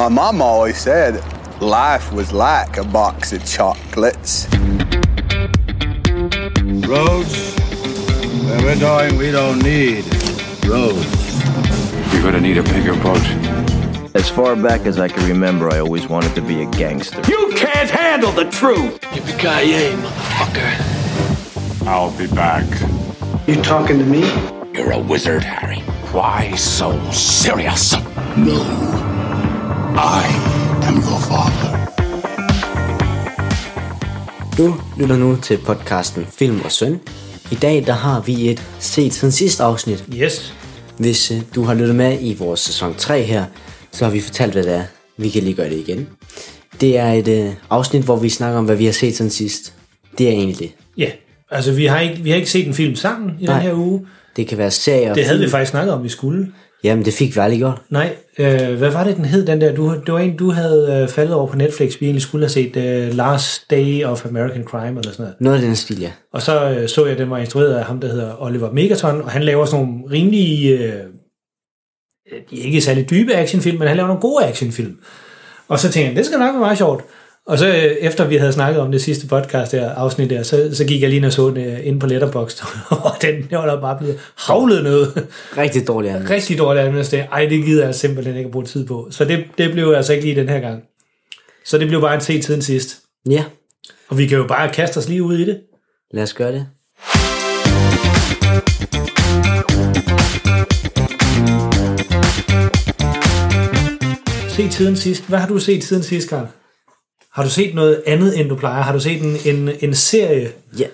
My mom always said life was like a box of chocolates. Roads? Where we're going, we don't need roads. You're gonna need a bigger boat. As far back as I can remember, I always wanted to be a gangster. You can't handle the truth! Yippee-ki-yay, motherfucker. I'll be back. You talking to me? You're a wizard, Harry. Why so serious? No. I am your father. Du lytter nu til podcasten Film og Søn. I dag der har vi et set siden sidste afsnit. Yes. Hvis øh, du har lyttet med i vores sæson 3 her, så har vi fortalt, hvad det er. Vi kan lige gøre det igen. Det er et øh, afsnit, hvor vi snakker om, hvad vi har set siden sidst. Det er egentlig det. Ja. Altså, vi har ikke, vi har ikke set en film sammen i Nej. Nej. Mm. den her uge. Det kan være serier. Det havde vi faktisk snakket om, vi skulle. Jamen, det fik vi aldrig gjort. Nej, øh, hvad var det, den hed, den der? Du, det var en, du havde øh, faldet over på Netflix. Vi egentlig skulle have set øh, Last Day of American Crime eller sådan noget. Noget af den stil, ja. Og så øh, så jeg, den var instrueret af ham, der hedder Oliver Megaton, og han laver sådan nogle rimelige, øh, øh, de er ikke særlig dybe actionfilm, men han laver nogle gode actionfilm. Og så tænkte jeg, det skal nok være meget sjovt. Og så øh, efter vi havde snakket om det sidste podcast der, afsnit der, så, så gik jeg lige ind og så den øh, inde på Letterboxd, og den den var der bare blevet havlet noget. Rigtig dårlig anmeldelse. Rigtig dårlig anmeldelse. der. Ej, det gider jeg simpelthen ikke at bruge tid på. Så det, det blev altså ikke lige den her gang. Så det blev bare en set siden sidst. Ja, Og vi kan jo bare kaste os lige ud i det. lad os gøre det. set siden sidst. Hvad har du set siden sidst, Karl? Har du set noget andet, end du plejer? Har du set en, en, en serie? Ja.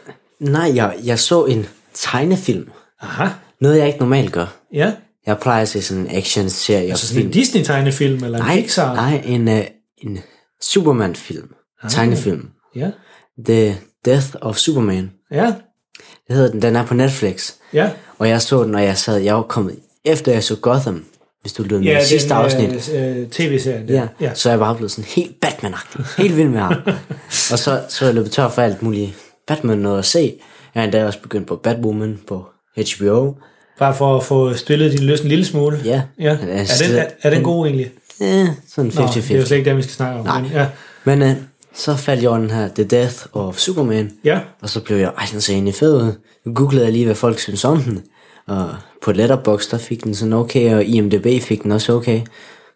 Nej, jeg, jeg så en tegnefilm. Aha, Noget, jeg ikke normalt gør. ja. Jeg plejer at se sådan en action-serie. Altså sådan en Disney-tegnefilm, eller en Nej, Pixar? Ah. nej, en, øh, en Superman-film. Tegnefilm. Ja, The Death of Superman. ja, Det hedder den. Den er på Netflix. ja. Og jeg så den, og jeg sad, jeg var kommet, efter jeg så Gotham, hvis du lyttede med Ja, i sidste den, øh, afsnit. Øh, tv-serien. der. Ja, ja. Så er jeg bare blevet sådan helt batman -agtig. Helt vild med ham. og så, så er jeg løbet tør for alt muligt Batman noget at se. Jeg har endda også begyndt på Batwoman på HBO. Bare for at få stillet din lyst en lille smule. Ja. ja. Er, Den er den, er, stillet- er den god egentlig? Eh, sådan 50-50. Nå, det er jo slet ikke det, vi skal snakke om. Nej. Men, ja. Men øh, så faldt jeg over den her The Death of Superman. Ja. Og så blev jeg, ej, den ser egentlig fed ud. Nu googlede jeg lige, hvad folk synes om den. Og på Letterboxd, der fik den sådan okay, og IMDB fik den også okay.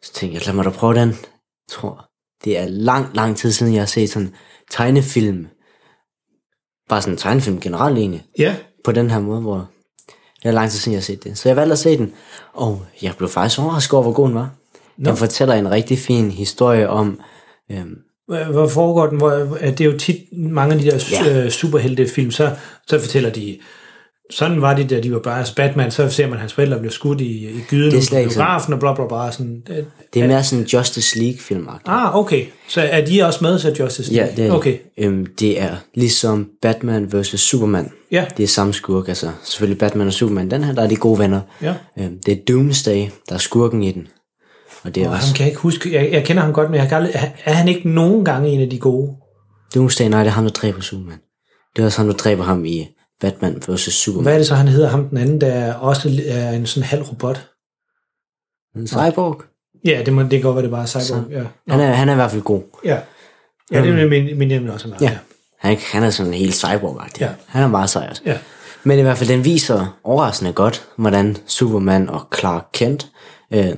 Så tænkte jeg, lad mig da prøve den. Jeg tror, det er lang, lang tid siden, jeg har set sådan tegnefilm. Bare sådan en tegnefilm generelt egentlig. ja. På den her måde, hvor det er lang tid siden, jeg har set det. Så jeg valgte at se den. Og jeg blev faktisk overrasket over, hvor god den var. Den fortæller en rigtig fin historie om, øhm, Hvor hvor foregår den? Hvor, at det er jo tit mange af de der Ja. ja. superheltefilm, så, så fortæller de, sådan var det, da de var bare altså Batman, så ser man, at hans forældre blev skudt i, i gyden Det er det slet er ikke biografen, og bla bla bla. Sådan. Øh, Det er mere sådan en Justice league film -agtig. Ah, okay. Så er de også med, så Justice Ja, League? det er, Okay. øhm, det er ligesom Batman vs. Superman. Ja. Det er samme skurk, altså selvfølgelig Batman og Superman. Den her, der er de gode venner. Ja. Øhm, det er Doomsday, der er skurken i den. Og det er Og også... ham kan jeg ikke huske. Jeg, jeg kender ham godt, men jeg kan aldrig, er- er han ikke nogen gange en af de gode? Doomsday, nej, det er ham, der dræber Superman. Det er også ham, der dræber ham i Batman vs. Superman. Hvad er det så, han hedder ham den anden, der også er en sådan halv robot? En cyborg. Ja, det, må, det kan godt være, det bare er Cyborg. Ja. Han er, han er i hvert fald god. ja. ja, det er min, min hjemme også. meget, Øhm. Ja. Han, er- han er sådan helt cyborg Ja. Han er meget sej også. Ja. Men i hvert fald, den viser overraskende godt, hvordan Superman og Clark Kent øh,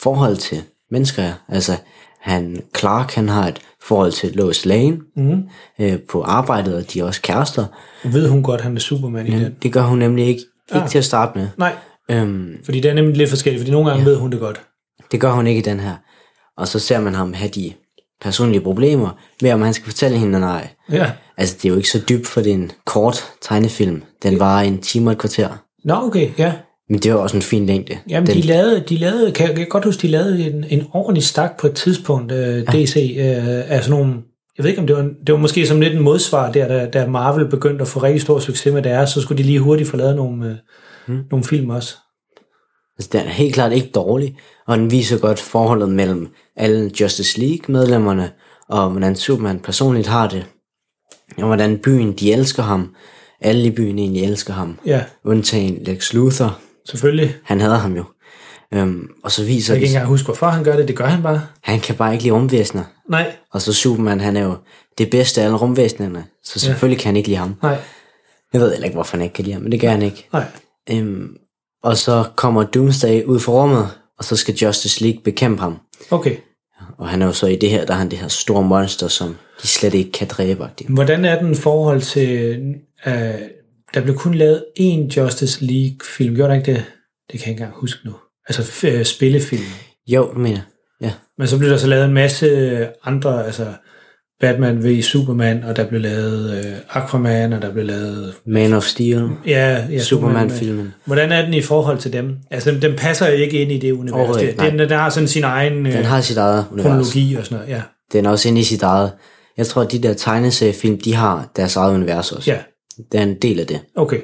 forhold til mennesker er. Altså, han, Clark han har et forhold til Lois Lane mm. Mhm. øh, på arbejdet, og de er også kærester. Ved hun godt, han er Superman i den? Det gør hun nemlig ikke, ikke ah. til at starte med. Nej, Øhm, fordi det er nemlig lidt forskelligt, fordi nogle gange ja. ved hun det godt. det gør hun ikke i den her. Og så ser man ham have de personlige problemer med, om han skal fortælle hende eller ej. Ja. Altså, det er jo ikke så dybt, for det er en kort tegnefilm. Den var en time og et kvarter. Nå, okay, ja. Men det var også en fin længde. Jamen, den, de lavede, de lavede, kan jeg kan godt huske, de lavede en, en ordentlig stak på et tidspunkt, øh, DC, øh, af sådan nogle, jeg ved ikke om det var, en- det var måske som lidt en modsvar der, da, da Marvel begyndte at få rigtig stor succes med deres, så skulle de lige hurtigt få lavet nogle, øh, hmm. nogle film også. Altså, den er helt klart ikke dårlig, og den viser godt forholdet mellem alle Justice League-medlemmerne, og hvordan Superman personligt har det, og hvordan byen, de elsker ham. Alle i byen egentlig elsker ham, Ja, undtagen Lex Luthor. selvfølgelig. Han hader ham jo. Øhm, og så viser Jeg kan det ikke sig- engang huske, hvorfor han gør det. Det gør han bare. han kan bare ikke lide rumvæsener. Nej, Og så Superman, han er jo det bedste af alle rumvæsenerne, så selvfølgelig ja. kan han ikke lide ham. nej, Jeg ved heller ikke, hvorfor han ikke kan lide ham, men det gør han ikke. nej. Øhm, og så kommer Doomsday ud fra rummet, og så skal Justice League bekæmpe ham. Okay. Og han er jo så i det her, der er han det her store monster, som de slet ikke kan dræbe. agtigt. Hvordan er den i forhold til... Øh, der blev kun lavet én Justice League-film. Gjorde der ikke det? Det kan jeg ikke engang huske nu. Altså f- øh, spillefilm. Jo, det mener jeg. Ja. Men så blev der så lavet en masse andre, altså Batman v Superman, og der blev lavet øh, Aquaman, og der blev lavet... Man of Steel, Ja, ja Superman-filmen. Hvordan er den i forhold til dem? Altså, den, den passer jo ikke ind i det univers. Overhovedet ikke, Det, den, den har sådan sin egen øh, Den har sit eget univers. kronologi og sådan noget. Ja, Den er også inde i sit eget. Jeg tror, at de der tegneseriefilm, de har deres eget univers også. ja. Det er en del af det. okay.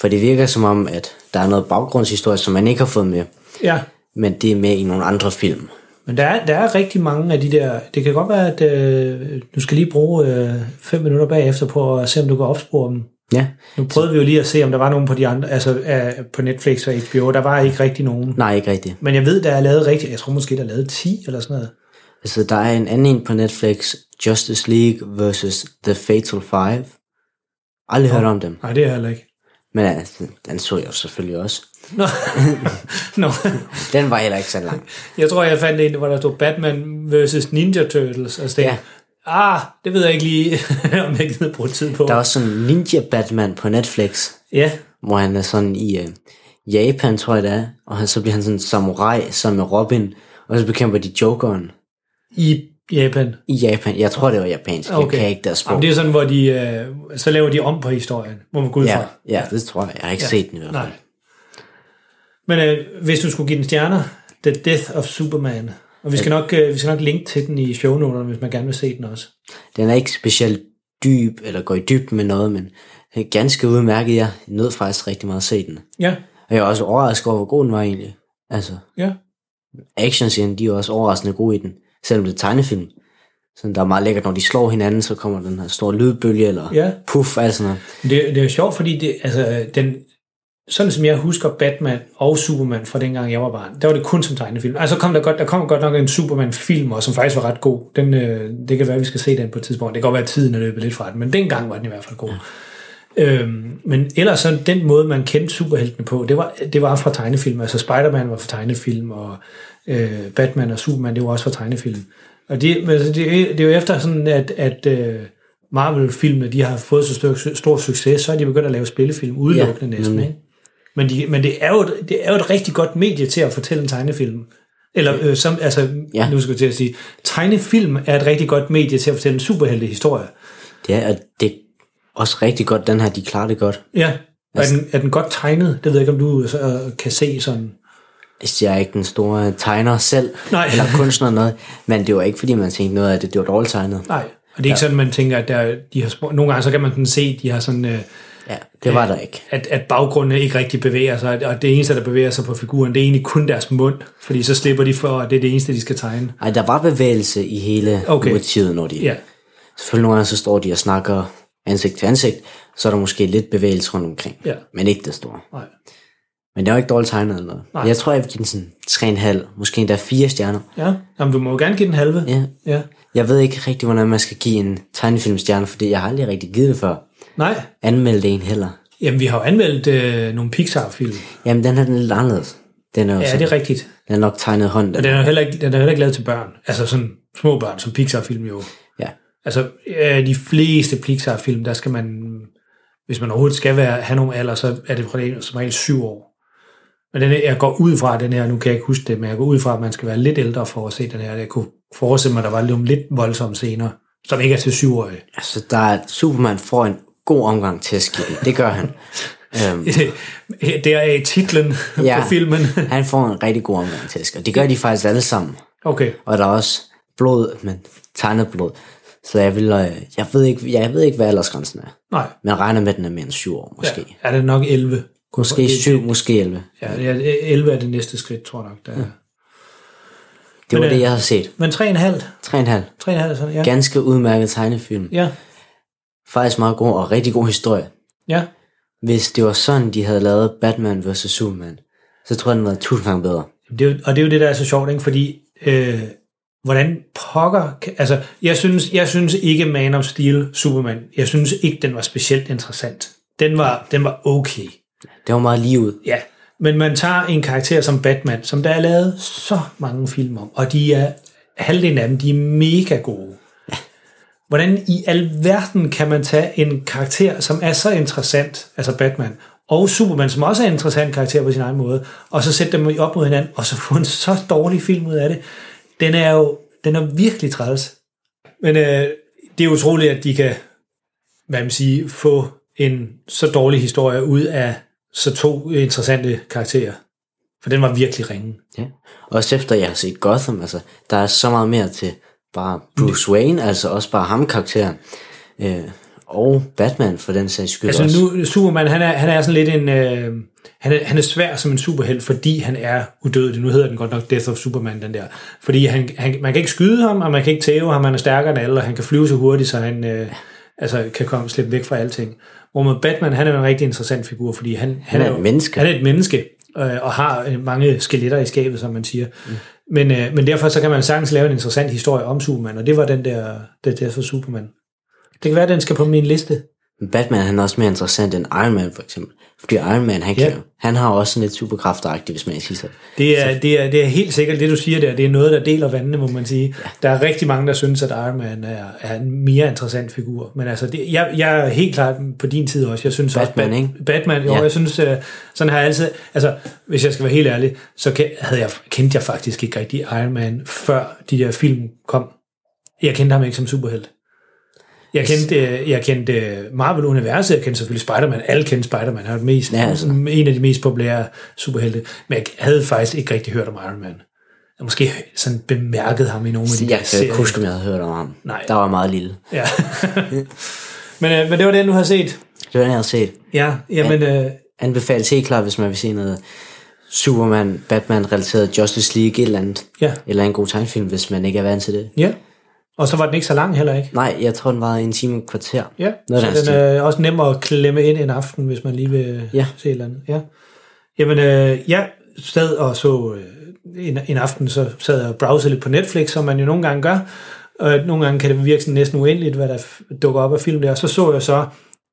For det virker som om, at der er noget baggrundshistorie, som man ikke har fået med. Ja, Men det er med i nogle andre film. Men der er, der er rigtig mange af de der... Det kan godt være, at øh, du skal lige bruge øh, fem minutter bagefter på at se, om du kan opspore dem. Ja. Nu prøvede vi jo lige at se, om der var nogen på de andre, altså øh, på Netflix og HBO. Der var ikke rigtig nogen. Nej, ikke rigtigt. Men jeg ved, der er lavet rigtig... Jeg tror måske, der er lavet 10 eller sådan noget. Altså, der er en anden en på Netflix, Justice League vs. The Fatal Five. Aldrig hørt om dem. Nej, det er jeg heller ikke. Men altså, den så jeg jo selvfølgelig også. Nå. Nå. Den var heller ikke så lang. Jeg tror, jeg fandt en, hvor der stod Batman vs. Ninja Turtles. Altså, det, Ja. ja. Ah, det ved jeg ikke lige, om jeg gider bruge tid på. Der er også sådan en Ninja Batman på Netflix, Ja, hvor han er sådan i øh, Japan, tror jeg det er. Og han, så bliver han sådan en samurai sammen med Robin. Og så bekæmper de Jokeren i Japan. i Japan. Jeg tror, det var japansk. Okay. Jeg kan ikke deres sprog. Jamen, det er sådan, hvor de, øh, så laver de om på historien, må man gå ud ja, fra. ja, det tror jeg. Jeg har ikke ja. set den i hvert fald. Nej. Men øh, hvis du skulle give den stjerner, The Death of Superman. Og vi skal, nok, øh, vi skal nok linke til den i shownoterne, hvis man gerne vil se den også. Den er ikke specielt dyb, eller går i dybden med noget, men den er ganske udmærket. Jeg nød faktisk rigtig meget at se den. Ja, Og jeg var også overrasket over, hvor god den var egentlig. Altså, ja. actionscenen, de er også overraskende gode i den, selvom det er tegnefilm. Så der er meget lækkert, når de slår hinanden, så kommer den her store lydbølge, eller Ja. puff, og alt sådan noget. Det, det er jo sjovt, fordi det, altså, den, sådan som jeg husker Batman og Superman fra dengang jeg var barn, der var det kun som tegnefilm. Altså kom der, godt, der kom godt nok en Superman-film, og som faktisk var ret god. Den, øh, det kan være, at vi skal se den på et tidspunkt. Det kan godt være, at tiden er løbet lidt fra den, men dengang var den i hvert fald god. Ja. Øhm, men ellers så den måde, man kendte superheltene på, det var, det var fra tegnefilm. Altså Spider-Man var fra tegnefilm, og øh, Batman og Superman, det var også fra tegnefilm. Og det, men altså, det, er- det er jo efter sådan, at, at øh, Marvel-filmene, de har fået så stor, stor succes, så er de begyndt at lave spillefilm udelukkende ja, næsten, nemlig. ikke? Men, de, men det, er jo, et- det er jo et rigtig godt medie til at fortælle en tegnefilm. Eller øh, som, altså, Ja. ja. nu skal jeg til at sige, tegnefilm er et rigtig godt medie til at fortælle en superheltehistorie. Det er, at det er også rigtig godt, den her, de klarer det godt. Ja. Er den, er den godt tegnet? Det ved jeg ikke, om du øh, kan se sådan. Altså, jeg er ikke den store tegner selv, Nej. eller kunstner eller noget, men det var ikke, fordi man tænkte noget af det, det var dårligt tegnet. Nej. Og det er ikke ja. sådan, man tænker, at der, de har spor- Nogle gange så kan man sådan se, de har sådan, øh, Ja, det var der ikke. at, at baggrunden ikke rigtig bevæger sig, og det eneste, der bevæger sig på figuren, det er egentlig kun deres mund, fordi så slipper de for, at det er det eneste, de skal tegne. Ej, der var bevægelse i hele okay. Okay. motivet, når de... Ja, Selvfølgelig nogle gange, så står de og snakker ansigt til ansigt, så er der måske lidt bevægelse rundt omkring, Ja. men ikke det store. nej. Men det var ikke dårligt tegnet eller noget. Nej. Jeg tror, jeg vil give den sådan 3,5, måske endda 4 stjerner. Ja, Jamen, du må jo gerne give den halve. Ja. ja. Jeg ved ikke rigtig, hvordan man skal give en tegnefilmstjerne, fordi jeg har aldrig rigtig givet det før. Nej, Anmeldt en heller. Jamen, vi har jo anmeldt øh, nogle Pixar-film. Jamen, den her den er lidt anderledes. Den er jo Ja, sådan, det er rigtigt. den er nok tegnet hånd. Og Den. den er jo heller ikke, den er heller ikke lavet til børn. Altså sådan små børn, som Pixar-film jo. Ja. Altså, øh, de fleste Pixar-film, der skal man, hvis man overhovedet skal være, have nogle alder, så er det fra det- som regel syv år. Men den, her- jeg går ud fra den her, nu kan jeg ikke huske det, men jeg går ud fra, at man skal være lidt ældre for at se den her. Jeg kunne forestille mig, at der var nogle lidt voldsomme scener, som ikke er til syvårige. Altså, der er, Superman får en god omgang til at skille. Det gør han. øhm, Det er titlen Ja. på filmen. han får en rigtig god omgang til at skille. Det gør de faktisk alle sammen. Okay. Og der er også blod, men tegnet blod. Så jeg, vil, øh, jeg, ved ikke, jeg ved ikke, hvad aldersgrænsen er. Nej. Men jeg regner med, at den er mere end 7 år, måske. Ja, er det nok 11? Måske 7, måske 11. Ja, det er- 11 er det næste skridt, tror jeg nok. Der. Ja. Det var Men, øh, det, jeg havde set. Men 3,5. 3,5. 3,5 sådan, ja. Ganske udmærket tegnefilm. Ja, Faktisk meget god og rigtig god historie. ja. Hvis det var sådan, de havde lavet Batman vs. Superman, så tror jeg, den var tusind gange bedre. Det er jo, og det er jo det, der er så sjovt, ikke? fordi øh, hvordan pokker... Kan, altså, jeg synes, jeg synes ikke Man of Steel Superman, jeg synes ikke, den var specielt interessant. Den var, den var okay. Det var meget lige ud. Ja, men man tager en karakter som Batman, som der er lavet så mange film om, og de er, halvdelen af dem, de er mega gode. Hvordan i alverden kan man tage en karakter, som er så interessant, altså Batman, og Superman, som også er en interessant karakter på sin egen måde, og så sætte dem op mod hinanden, og så få en så dårlig film ud af det? Den er jo den er virkelig træls. Men øh, det er utroligt, at de kan hvad man siger, få en så dårlig historie ud af så to interessante karakterer. For den var virkelig ringen. Ja. Også efter jeg har set Gotham, altså, der er så meget mere til bare Bruce Wayne, altså også bare ham karakteren. Øh, og Batman for den sags skyld Altså også. nu, Superman, han er, han er sådan lidt en... Øh, han, er, han er svær som en superhelt, fordi han er udødelig. Nu hedder den godt nok Death of Superman, den der. Fordi han, han, man kan ikke skyde ham, og man kan ikke tæve ham, han er stærkere end alle, og han kan flyve så hurtigt, så han øh, altså, kan komme slippe væk fra alting. Hvor med Batman, han er jo en rigtig interessant figur, fordi han, han, er jo- et menneske. Han er et menneske, øh, og har øh, mange skeletter i skabet, som man siger. Mm. Men, øh, men derfor så kan man sagtens lave en interessant historie om Superman, og det var den der, der Death of Superman. Det kan være, at den skal på min liste. Batman han er også mere interessant end Iron Man for eksempel. Fordi Iron Man, han, kan, Ja. jo- han har også sådan lidt superkræfteragtigt, hvis man ikke siger sådan. Det er, det, er, det er helt sikkert, det du siger der, det er noget, der deler vandene, må man sige. Der er rigtig mange, der synes, at Iron Man er, er en mere interessant figur. Men altså, det, jeg, jeg er helt klart på din tid også. Jeg synes Batman, også, ikke? Batman, jo, Ja. ja. jeg synes, øh, sådan har jeg altid... Altså, hvis jeg skal være helt ærlig, så kan, havde jeg, kendte jeg faktisk ikke rigtig Iron Man, før de der film kom. Jeg kendte ham ikke som superhelt. Jeg kendte, øh, jeg kendte øh, Marvel-universet, jeg kendte selvfølgelig Spider-Man, alle kendte Spider-Man, han er den mest, Ja, ja, altså. altså. en af de mest populære superhelte, men jeg havde faktisk ikke rigtig hørt om Iron Man. Jeg måske sådan bemærket ham i nogle af de Jeg der kan serier. ikke huske, om jeg havde hørt om ham. Nej. Der var jeg meget lille. Ja. men, øh, men det var den, du har set. Det var den, jeg havde set. Ja, jamen, øh, Anbefales helt klart, hvis man vil se noget Superman, Batman-relateret Justice League, et eller andet. ja. Eller en god tegnefilm, hvis man ikke er vant til det. ja. Og så var den ikke så lang heller, ikke? Nej, jeg tror, den var en time og et kvarter. Ja, Noget af den så stil. den er også nem at klemme ind en aften, hvis man lige vil altså- Ja. ja. se et eller andet. Ja. Jamen, øh, jeg sad og så øh, en, en aften, så sad jeg og browsede lidt på Netflix, som man jo nogle gange gør. Og nogle gange kan det virke sådan næsten uendeligt, hvad der f- dukker op af film der. Og så så jeg så,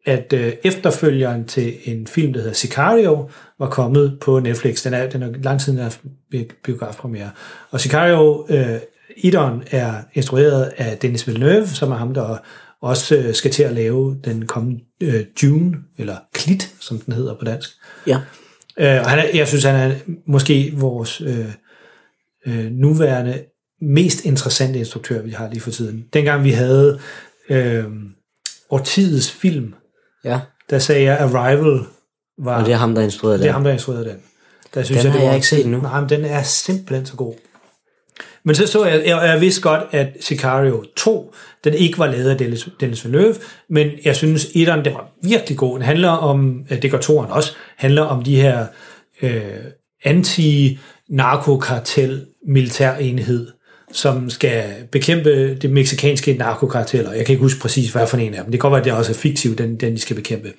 at øh, efterfølgeren til en film, der hedder Sicario, var kommet på Netflix. Den er, den er lang tid siden, den har haft bi- biografpremiere. Og Sicario øh, Idon er instrueret af Dennis Villeneuve, som er ham, der også øh, skal til at lave den kommende øh, Dune, eller Klit, som den hedder på dansk. Ja. Øh, og han er, jeg synes, han er måske vores øh, øh, nuværende mest interessante instruktør, vi har lige for tiden. Dengang vi havde øh, årtidets film, ja. der sagde jeg, Arrival var... Og det er ham, der instruerede Det er det. ham, der instruerede den. Der synes Den har jeg var- ikke set endnu. Nej, men den er simpelthen så god. Men så så jeg, jeg, jeg vidste godt, at Sicario 2, den ikke var lavet af Dennis, Dennis Villeneuve, men jeg synes, etteren, den var virkelig god. Den handler om, øh, det gør toeren også, handler om de her øh, anti-narkokartel militærenhed, som skal bekæmpe det meksikanske narkokartel, og jeg kan ikke huske præcis, hvad for en af dem. Det kan godt være, at det også er fiktivt, den, den de skal bekæmpe.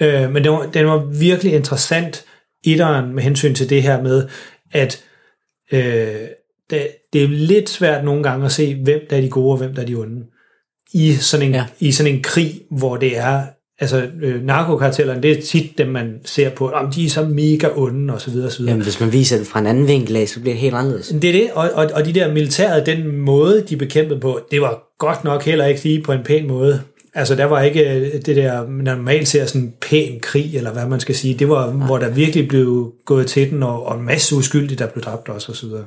Øh, men den var, den var virkelig interessant, etteren, med hensyn til det her med, at øh, det, det er lidt svært nogle gange at se, hvem der er de gode og hvem der er de onde. I sådan en, Ja. ja. i sådan en krig, hvor det er, altså øh, narkokartellerne, det er tit dem, man ser på, om de er så mega onde, osv. osv. Jamen, hvis man viser det fra en anden vinkel af, så bliver det helt anderledes. Det er det, og, og, og de der militæret, den måde, de bekæmpede på, det var godt nok heller ikke lige på en pæn måde. Altså, der var ikke øh, det der, man normalt ser sådan en pæn krig, eller hvad man skal sige. Det var, ja. hvor der virkelig blev gået til den, og, og en masse uskyldige, der blev dræbt også, og så videre.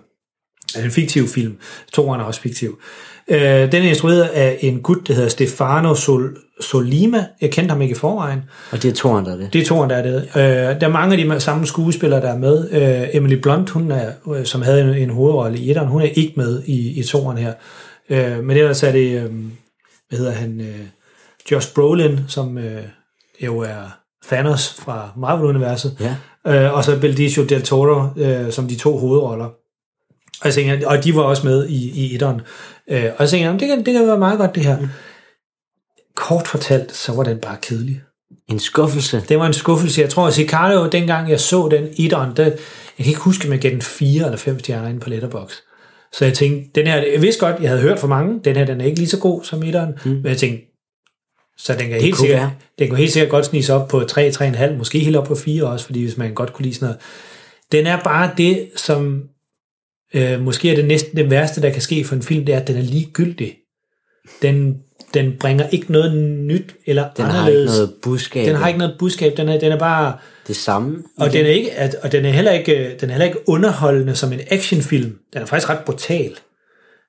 Altså, en fiktiv film. Toren er også fiktiv. Øh, den er instrueret af en gut, der hedder Stefano Sol, Solima. Jeg kendte ham ikke i forvejen. Og det er to andre, det. Det er toren, der er det. Øh, der er mange af de samme skuespillere, der er med. Øh, Emily Blunt, hun er, øh, som havde en, en hovedrolle i etteren, hun er ikke med i, i toren her. Øh, men ellers er det, øh, hvad hedder han, øh, Josh Brolin, som øh, jo er Thanos fra Marvel-universet. Ja. Øh, og så Benicio del Toro, øh, som de to hovedroller. Og, jeg tænker, og de var også med i, i etteren. Øh, og jeg tænkte, jamen, det kan, det kan være meget godt, det her. Kort fortalt, så var den bare kedelig. En skuffelse. Det var en skuffelse. Jeg tror, at Sicario, dengang jeg så den etteren, der, jeg kan ikke huske, om jeg gav den 4 eller 5 stjerner inde på Letterbox. Så jeg tænkte, den her, jeg vidste godt, jeg havde hørt for mange, den her den er ikke lige så god som etteren, mm. men jeg tænkte, så den kan, helt kunne sikkert, være. den kan helt sikkert godt snige sig op på 3, 3,5, måske helt op på 4 også, fordi hvis man godt kunne lide sådan noget. Den er bare det, som øh, måske er det næsten det værste, der kan ske for en film, det er, at den er ligegyldig. Den, den bringer ikke noget nyt eller Den anderledes. har ikke noget budskab. Den har ikke noget budskab, den er, den er bare... det samme. Og den er, ikke, at, og den er, heller ikke, øh, den er heller ikke underholdende som en actionfilm. Den er faktisk ret brutal.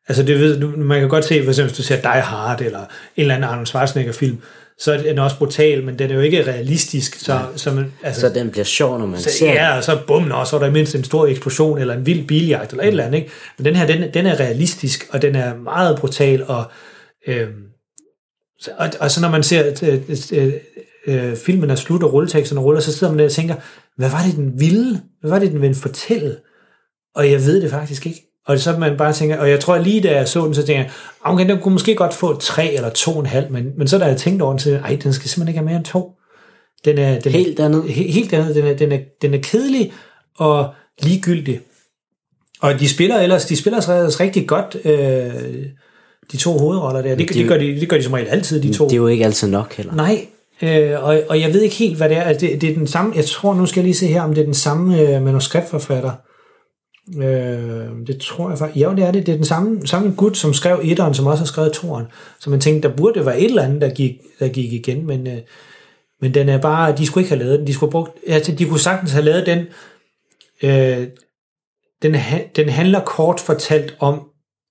Altså, det ved, du- man kan godt se, for eksempel, hvis du ser Die Hard, eller en eller anden Arnold Schwarzenegger-film, så er den også brutal, men den er jo ikke realistisk. Så, så, man, altså, Så den bliver sjov, når man så, ser den. ja, og så bum, nå, så er der mindst en stor eksplosion, eller en vild biljagt, eller et eller andet. Ikke? Men den her, den, den er realistisk, og den er meget brutal, og, øhm, så- og, og så når man ser at, øh, øh, øh, filmen er slut, og rulleteksterne ruller, så sidder man der og tænker, hvad var det, den ville? Hvad var det, den ville fortælle? Og jeg ved det faktisk ikke. Og så man bare tænker, og jeg tror lige da jeg så den, så tænker jeg, "Ah, okay, den kunne måske godt få tre eller to og en halv, men, men så da jeg tænkte over den, så tænkte jeg, ej, den skal simpelthen ikke have mere end to. Den er, den, er- Helt andet. he- helt andet. Den er, den er, den er kedelig og ligegyldig. Og de spiller ellers, de spiller sig ellers rigtig godt, øh, de to hovedroller der. Det, det, det er det, jo- gør de, det gør de som regel altid, de to. Det er jo ikke altid nok heller. Nej, øh, og, og jeg ved ikke helt, hvad det er. Altså, Det, det er den samme, jeg tror, nu skal jeg lige se her, om det er den samme øh, manuskriptforfatter. Øh, det tror jeg faktisk. Ja, det er det. Det er den samme, samme gut, som skrev etteren, som også har skrevet toeren. Så man tænkte, der burde være et eller andet, der gik, der gik igen, men, øh, men den er bare, de skulle ikke have lavet den. De, skulle have brugt, altså, de kunne sagtens have lavet den. Øh, den, ha- den handler kort fortalt om,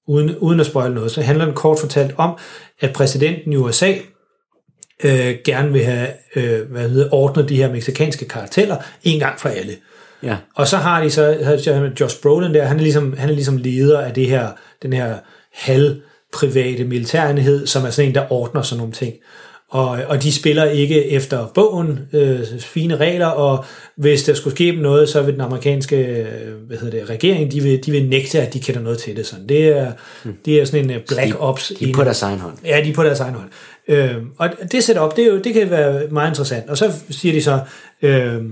uden, uden at spoil noget, så handler den kort fortalt om, at præsidenten i USA, øh, gerne vil have øh, hvad hedder, ordnet de her meksikanske karteller en gang for alle. Ja. Og så har de så, så Josh Brolin der, han er ligesom, han er ligesom leder af det her, den her halv private militærenhed, som er sådan en, der ordner sådan nogle ting. Og, og de spiller ikke efter bogen øh, fine regler, og hvis der skulle ske dem noget, så vil den amerikanske øh, hvad hedder det, regering, de vil, de vil nægte, at de kender noget til det. Sådan. Det, er, det er sådan en øh, black ops. De er på deres egen hånd. Ja, de er på deres egen hånd. Øhm, og det setup, det, er jo, det kan være meget interessant. Og så siger de så, øhm,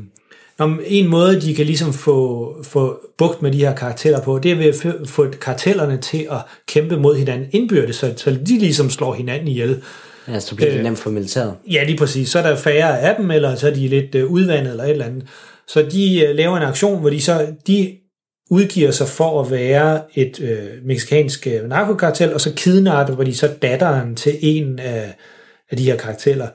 om en måde, de kan ligesom få, få bugt med de her karakterer på, det er ved at fø- få karaktererne til at kæmpe mod hinanden indbyrdes, så, så de ligesom slår hinanden ihjel. Ja, så bliver det Øh. nemt for militæret. Ja, lige præcis. Så er der færre af dem, eller så er de lidt øh, udvandet eller et eller andet. Så de øh, laver en aktion, hvor de så de udgiver sig for at være et øh, meksikansk øh, narkokartel, og så kidnapper de så datteren til en af, af de her karakteller.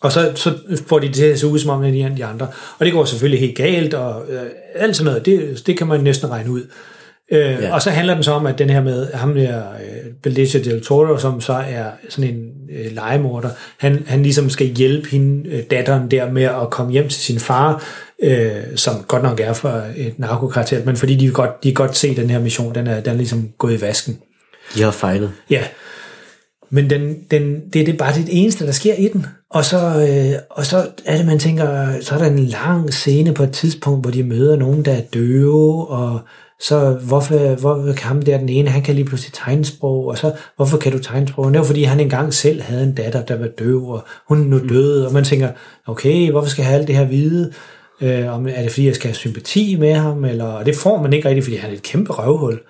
Og så, så får de det til at se ud som om det er de- de andre. Og det går selvfølgelig helt galt, og øh, alt sådan noget. Det, det kan man næsten regne ud. Øh, ja. Og så handler den så om, at den her med ham der, øh, Benicio del Toro, som så er sådan en øh, legemorder, han, han ligesom skal hjælpe hende, øh, datteren der, med at komme hjem til sin far, øh, som godt nok er fra et narkokartel, men fordi de godt, de kan godt se, at den her mission, den er, den er ligesom gået i vasken. De har fejlet. Ja. Men den, den, det er det bare det eneste, der sker i den. Og så, øh, og så er det, man tænker, så er der en lang scene på et tidspunkt, hvor de møder nogen, der er døve, og så hvorfor, hvorfor kan ham der den ene, han kan lige pludselig tegnsprog, og så hvorfor kan du tegnsprog? Og Det var fordi, han engang selv havde en datter, der var døv, og hun er nu døde, og man tænker, okay, hvorfor skal jeg have alt det her vide? Øh, om, er det fordi, jeg skal have sympati med ham? Eller, og det får man ikke rigtigt, fordi han er et kæmpe røvhul.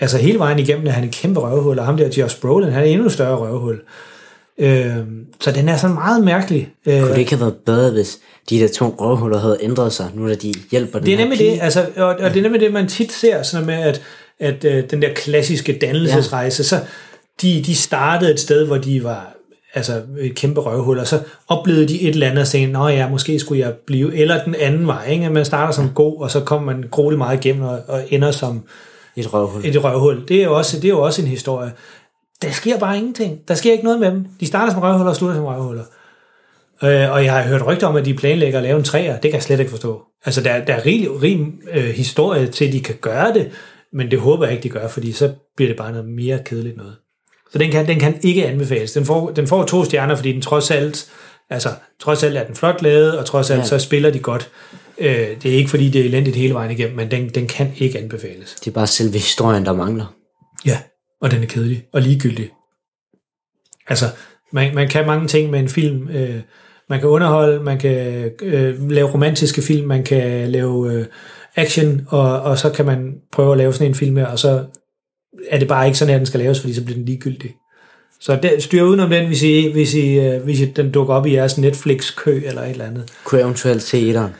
Altså hele vejen igennem er han et kæmpe røvhul, og ham der Josh Brolin, han er endnu større røvhul. Øh, så den er sådan meget mærkelig. Øh, Kunne det ikke have været bedre, hvis de der to røvhuller havde ændret sig, nu da de hjælper den det er her nemlig pige? det, altså, og, og det er nemlig det, man tit ser, sådan noget med, at, at øh, den der klassiske dannelsesrejse, så de, de startede et sted, hvor de var altså et kæmpe røvhul, og så oplevede de et eller andet og sagde, nå ja, måske skulle jeg blive, eller den anden vej, ikke? At man starter som god, og så kommer man groligt meget igennem og, og ender som, Et røvhul. et røvhul. Det er jo også, det er jo også en historie. Der sker bare ingenting. Der sker ikke noget med dem. De starter som røvhuller og slutter som røvhuller. Øh, og jeg har hørt rygter om, at de planlægger at lave en træer. Det kan jeg slet ikke forstå. Altså, der, der er rig, rig øh, historie til, at de kan gøre det, men det håber jeg ikke, de gør, fordi så bliver det bare noget mere kedeligt noget. Så den kan, den kan ikke anbefales. Den får, den får to stjerner, fordi den trods alt, altså, trods alt er den flot lavet, og trods alt ja. Ja. så spiller de godt. Øh, det er ikke, fordi det er elendigt hele vejen igennem, men den, den kan ikke anbefales. Det er bare selve historien, der mangler. Ja, og den er kedelig og ligegyldig. Altså, man, man kan mange ting med en film, øh, Man kan underholde, man kan øh, lave romantiske film, man kan lave øh, action, og, og så kan man prøve at lave sådan en film her, og så er det bare ikke sådan, at den skal laves, fordi så bliver den ligegyldig. Så der, styr udenom den, hvis I, hvis, I, øh, hvis I, den dukker op i jeres Netflix-kø eller et eller andet. Kunne jeg eventuelt se etteren?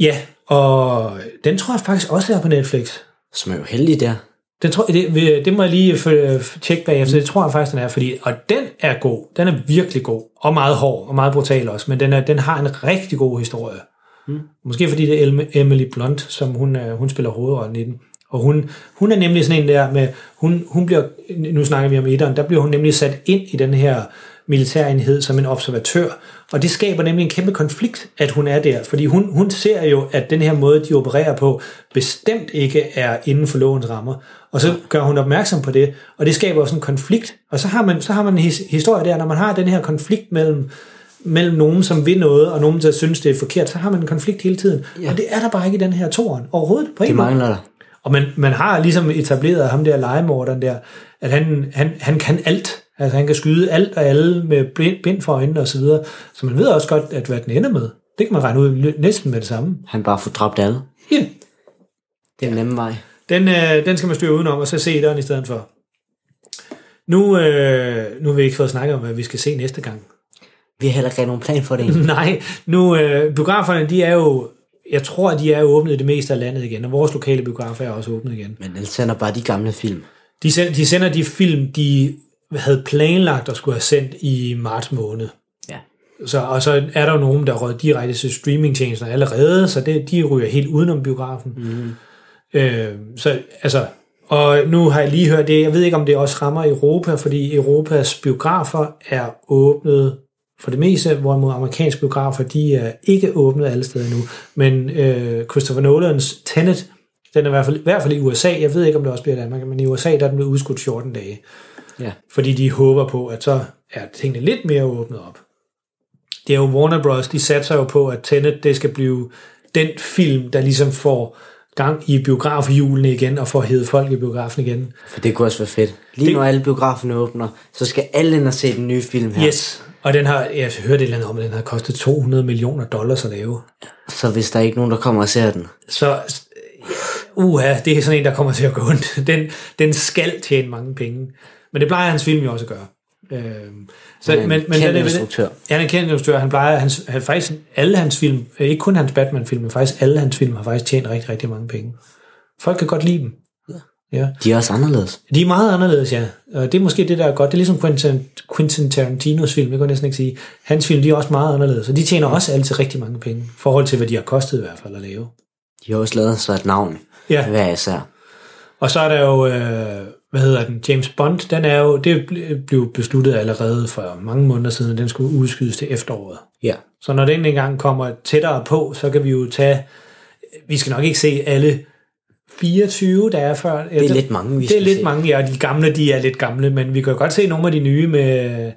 Ja, og den tror jeg faktisk også er på Netflix. Som er jo heldig der. Den tror, det, vil- det må jeg lige øh, f- tjekke bagefter. Det tror jeg faktisk, den er. Fordi, og den er god. Den er virkelig god. Og meget hård. Og meget brutal også. Men den, er, den har en rigtig god historie. Mm. Måske fordi det er Elme- Emily Blunt, som hun, er- hun spiller hovedrollen i den. Og hun, hun er nemlig sådan en der med... Hun, hun bliver, nu snakker vi om etteren. Der bliver hun nemlig sat ind i den her militærenhed som en observatør. Og det skaber nemlig en kæmpe konflikt, at hun er der. Fordi hun, hun ser jo, at den her måde, de opererer på, bestemt ikke er inden for lovens rammer. Og så gør hun opmærksom på det, og det skaber jo sådan en konflikt. Og så har man, så har man en his, historie der, når man har den her konflikt mellem, mellem nogen, som vil noget, og nogen, der synes, det er forkert, så har man en konflikt hele tiden. Ja. Og det er der bare ikke i den her toren overhovedet. På Det ingen måde. mangler der. Og man, man har ligesom etableret ham der legemorderen der, at han, han, han kan alt. Altså han kan skyde alt og alle med bind, bind for øjnene og så videre. Så man ved også godt, at hvad den ender med. Det kan man regne ud lø- næsten med det samme. Han bare får dræbt alle. Ja. Det er en nemme vej. Den, øh, den skal man styre udenom, og så se den i stedet for. Nu, øh, nu har vi ikke fået snakket om, hvad vi skal se næste gang. Vi har heller ikke rigtig nogen plan for det egentlig. Nej, nu, øh, biograferne, de er jo, jeg tror, de er jo åbnet i det meste af landet igen, og vores lokale biografer er også åbnet igen. Men den sender bare de gamle film. De sender, de sender de film, de havde planlagt at skulle have sendt i marts måned. Ja. Så, og så er der jo nogen, der rød direkte til streamingtjenesterne allerede, så det, de ryger helt udenom biografen. Mm. Øh, så altså, og nu har jeg lige hørt det, jeg ved ikke, om det også rammer Europa, fordi Europas biografer er åbnet for det meste, hvorimod amerikanske biografer, de er ikke åbnet alle steder endnu. Men øh, Christopher Nolans Tenet, den er i hvert, fald, i hvert fald i USA, jeg ved ikke, om det også bliver i Danmark, men i USA, der er den blevet udskudt 14 dage Ja. fordi de håber på, at så er tingene lidt mere åbnet op. Det er jo Warner Bros., de satser jo på, at Tenet, det skal blive den film, der ligesom får gang i biografhjulene igen, og får hævet folk i biografen igen. For det kunne også være fedt. Lige Det- det... når alle biograferne åbner, så skal alle ind og se den nye film her. Ja. Yes. Og den har, jeg hørte et eller andet om, at den har kostet 200 millioner dollars at lave. Så hvis der er ikke nogen, der kommer og ser den. Så, øh, uha, det er sådan en, der kommer til at gå ondt. Den, den skal tjene mange penge. Men det plejer hans film jo også at gøre. Øhm, så, Han er en kendt den er- instruktør. Ja, han er en kendt instruktør. Han plejer, hans, han, faktisk alle hans film, øh, ikke kun hans Batman-film, men faktisk alle hans film har faktisk tjent rigtig, rigtig mange penge. Folk kan godt lide dem. Ja. De er også anderledes. De er meget anderledes, ja. Og det er måske det, der er godt. Det er ligesom Quentin, Quentin Tarantinos film, det kan jeg næsten ikke sige. Hans film, de er også meget anderledes, og de tjener også altid rigtig mange penge, i forhold til, hvad de har kostet i hvert fald at lave. De har også lavet sig et navn. Ja. Hver især. Og så er der jo, øh, hvad hedder den, James Bond, den er jo, det bl- blev besluttet allerede for mange måneder siden, at den skulle udskydes til efteråret. Ja. Så når den engang kommer tættere på, så kan vi jo tage, vi skal nok ikke se alle 24, der er før. Det er lidt mange, vi Det er skal lidt se. mange, ja, og de gamle, de er lidt gamle, men vi kan jo godt se nogle af de nye med,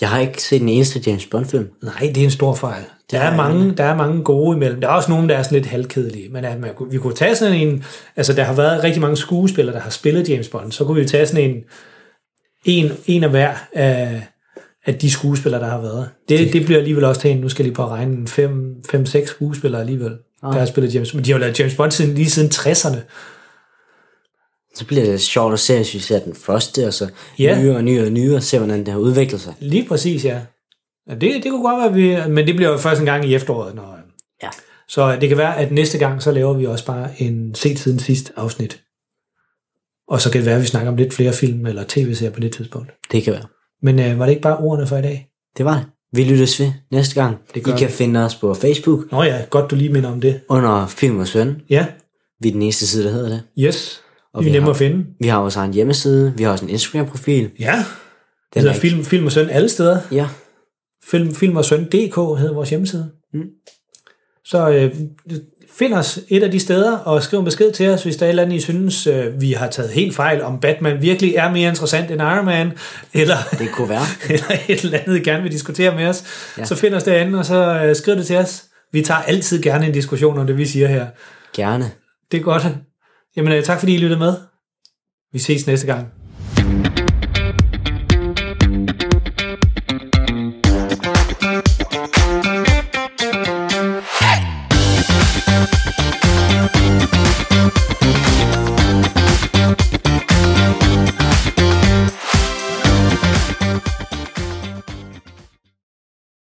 Jeg har ikke set den eneste James Bond-film. Nej, det er en stor fejl. Der er, mange, der er mange gode imellem. Der er også nogle, der er sådan lidt halvkedelige. Men at man, kunne- vi kunne tage sådan en... Altså, der har været rigtig mange skuespillere, der har spillet James Bond. Så kunne vi jo tage sådan en... En, en af hver af, af de skuespillere, der har været. Det, det bliver alligevel også til en... Nu skal jeg lige på at regne 5-6 skuespillere alligevel, der har spillet James Bond. De har jo lavet James Bond siden, lige siden 60'erne. Så bliver det sjovt at se, hvis vi ser den første, og så Ja. nye og nye og nye, og se, hvordan det har udviklet sig. Lige præcis, ja. ja det, det kunne godt være, at vi, men det bliver jo først en gang i efteråret. Når, Ja. Så det kan være, at næste gang, så laver vi også bare en set siden sidst afsnit. Og så kan det være, at vi snakker om lidt flere film eller tv-serier på det tidspunkt. Det kan være. Men øh, var det ikke bare ordene for i dag? Det var det. Vi lyttes ved næste gang. Det gør I kan finde os på Facebook Nå ja, godt du lige minder om det. under Film og Søn. Ja, Vi er den eneste side, der hedder det. yes. Og vi er vi nemme har- at finde. Vi har også en hjemmeside. Vi har også en Instagram-profil. Ja, Den det er hedder ikke- Altså, film, film og Søn alle steder. Ja. Film, film og Søn.dk hedder vores hjemmeside. Mm. Så øh, find os et af de steder, og skriv en besked til os, hvis der er et eller andet, I synes, øh, vi har taget helt fejl, om Batman virkelig er mere interessant end Iron Man, eller, Det kunne være. eller et eller andet, I gerne vil diskutere med os. Ja. Ja. Så find os derinde, og så øh, skriv det til os. Vi tager altid gerne en diskussion om det, vi siger her. Gerne. Det er godt. Jamen, øh, tak fordi I lyttede med. Vi ses næste gang.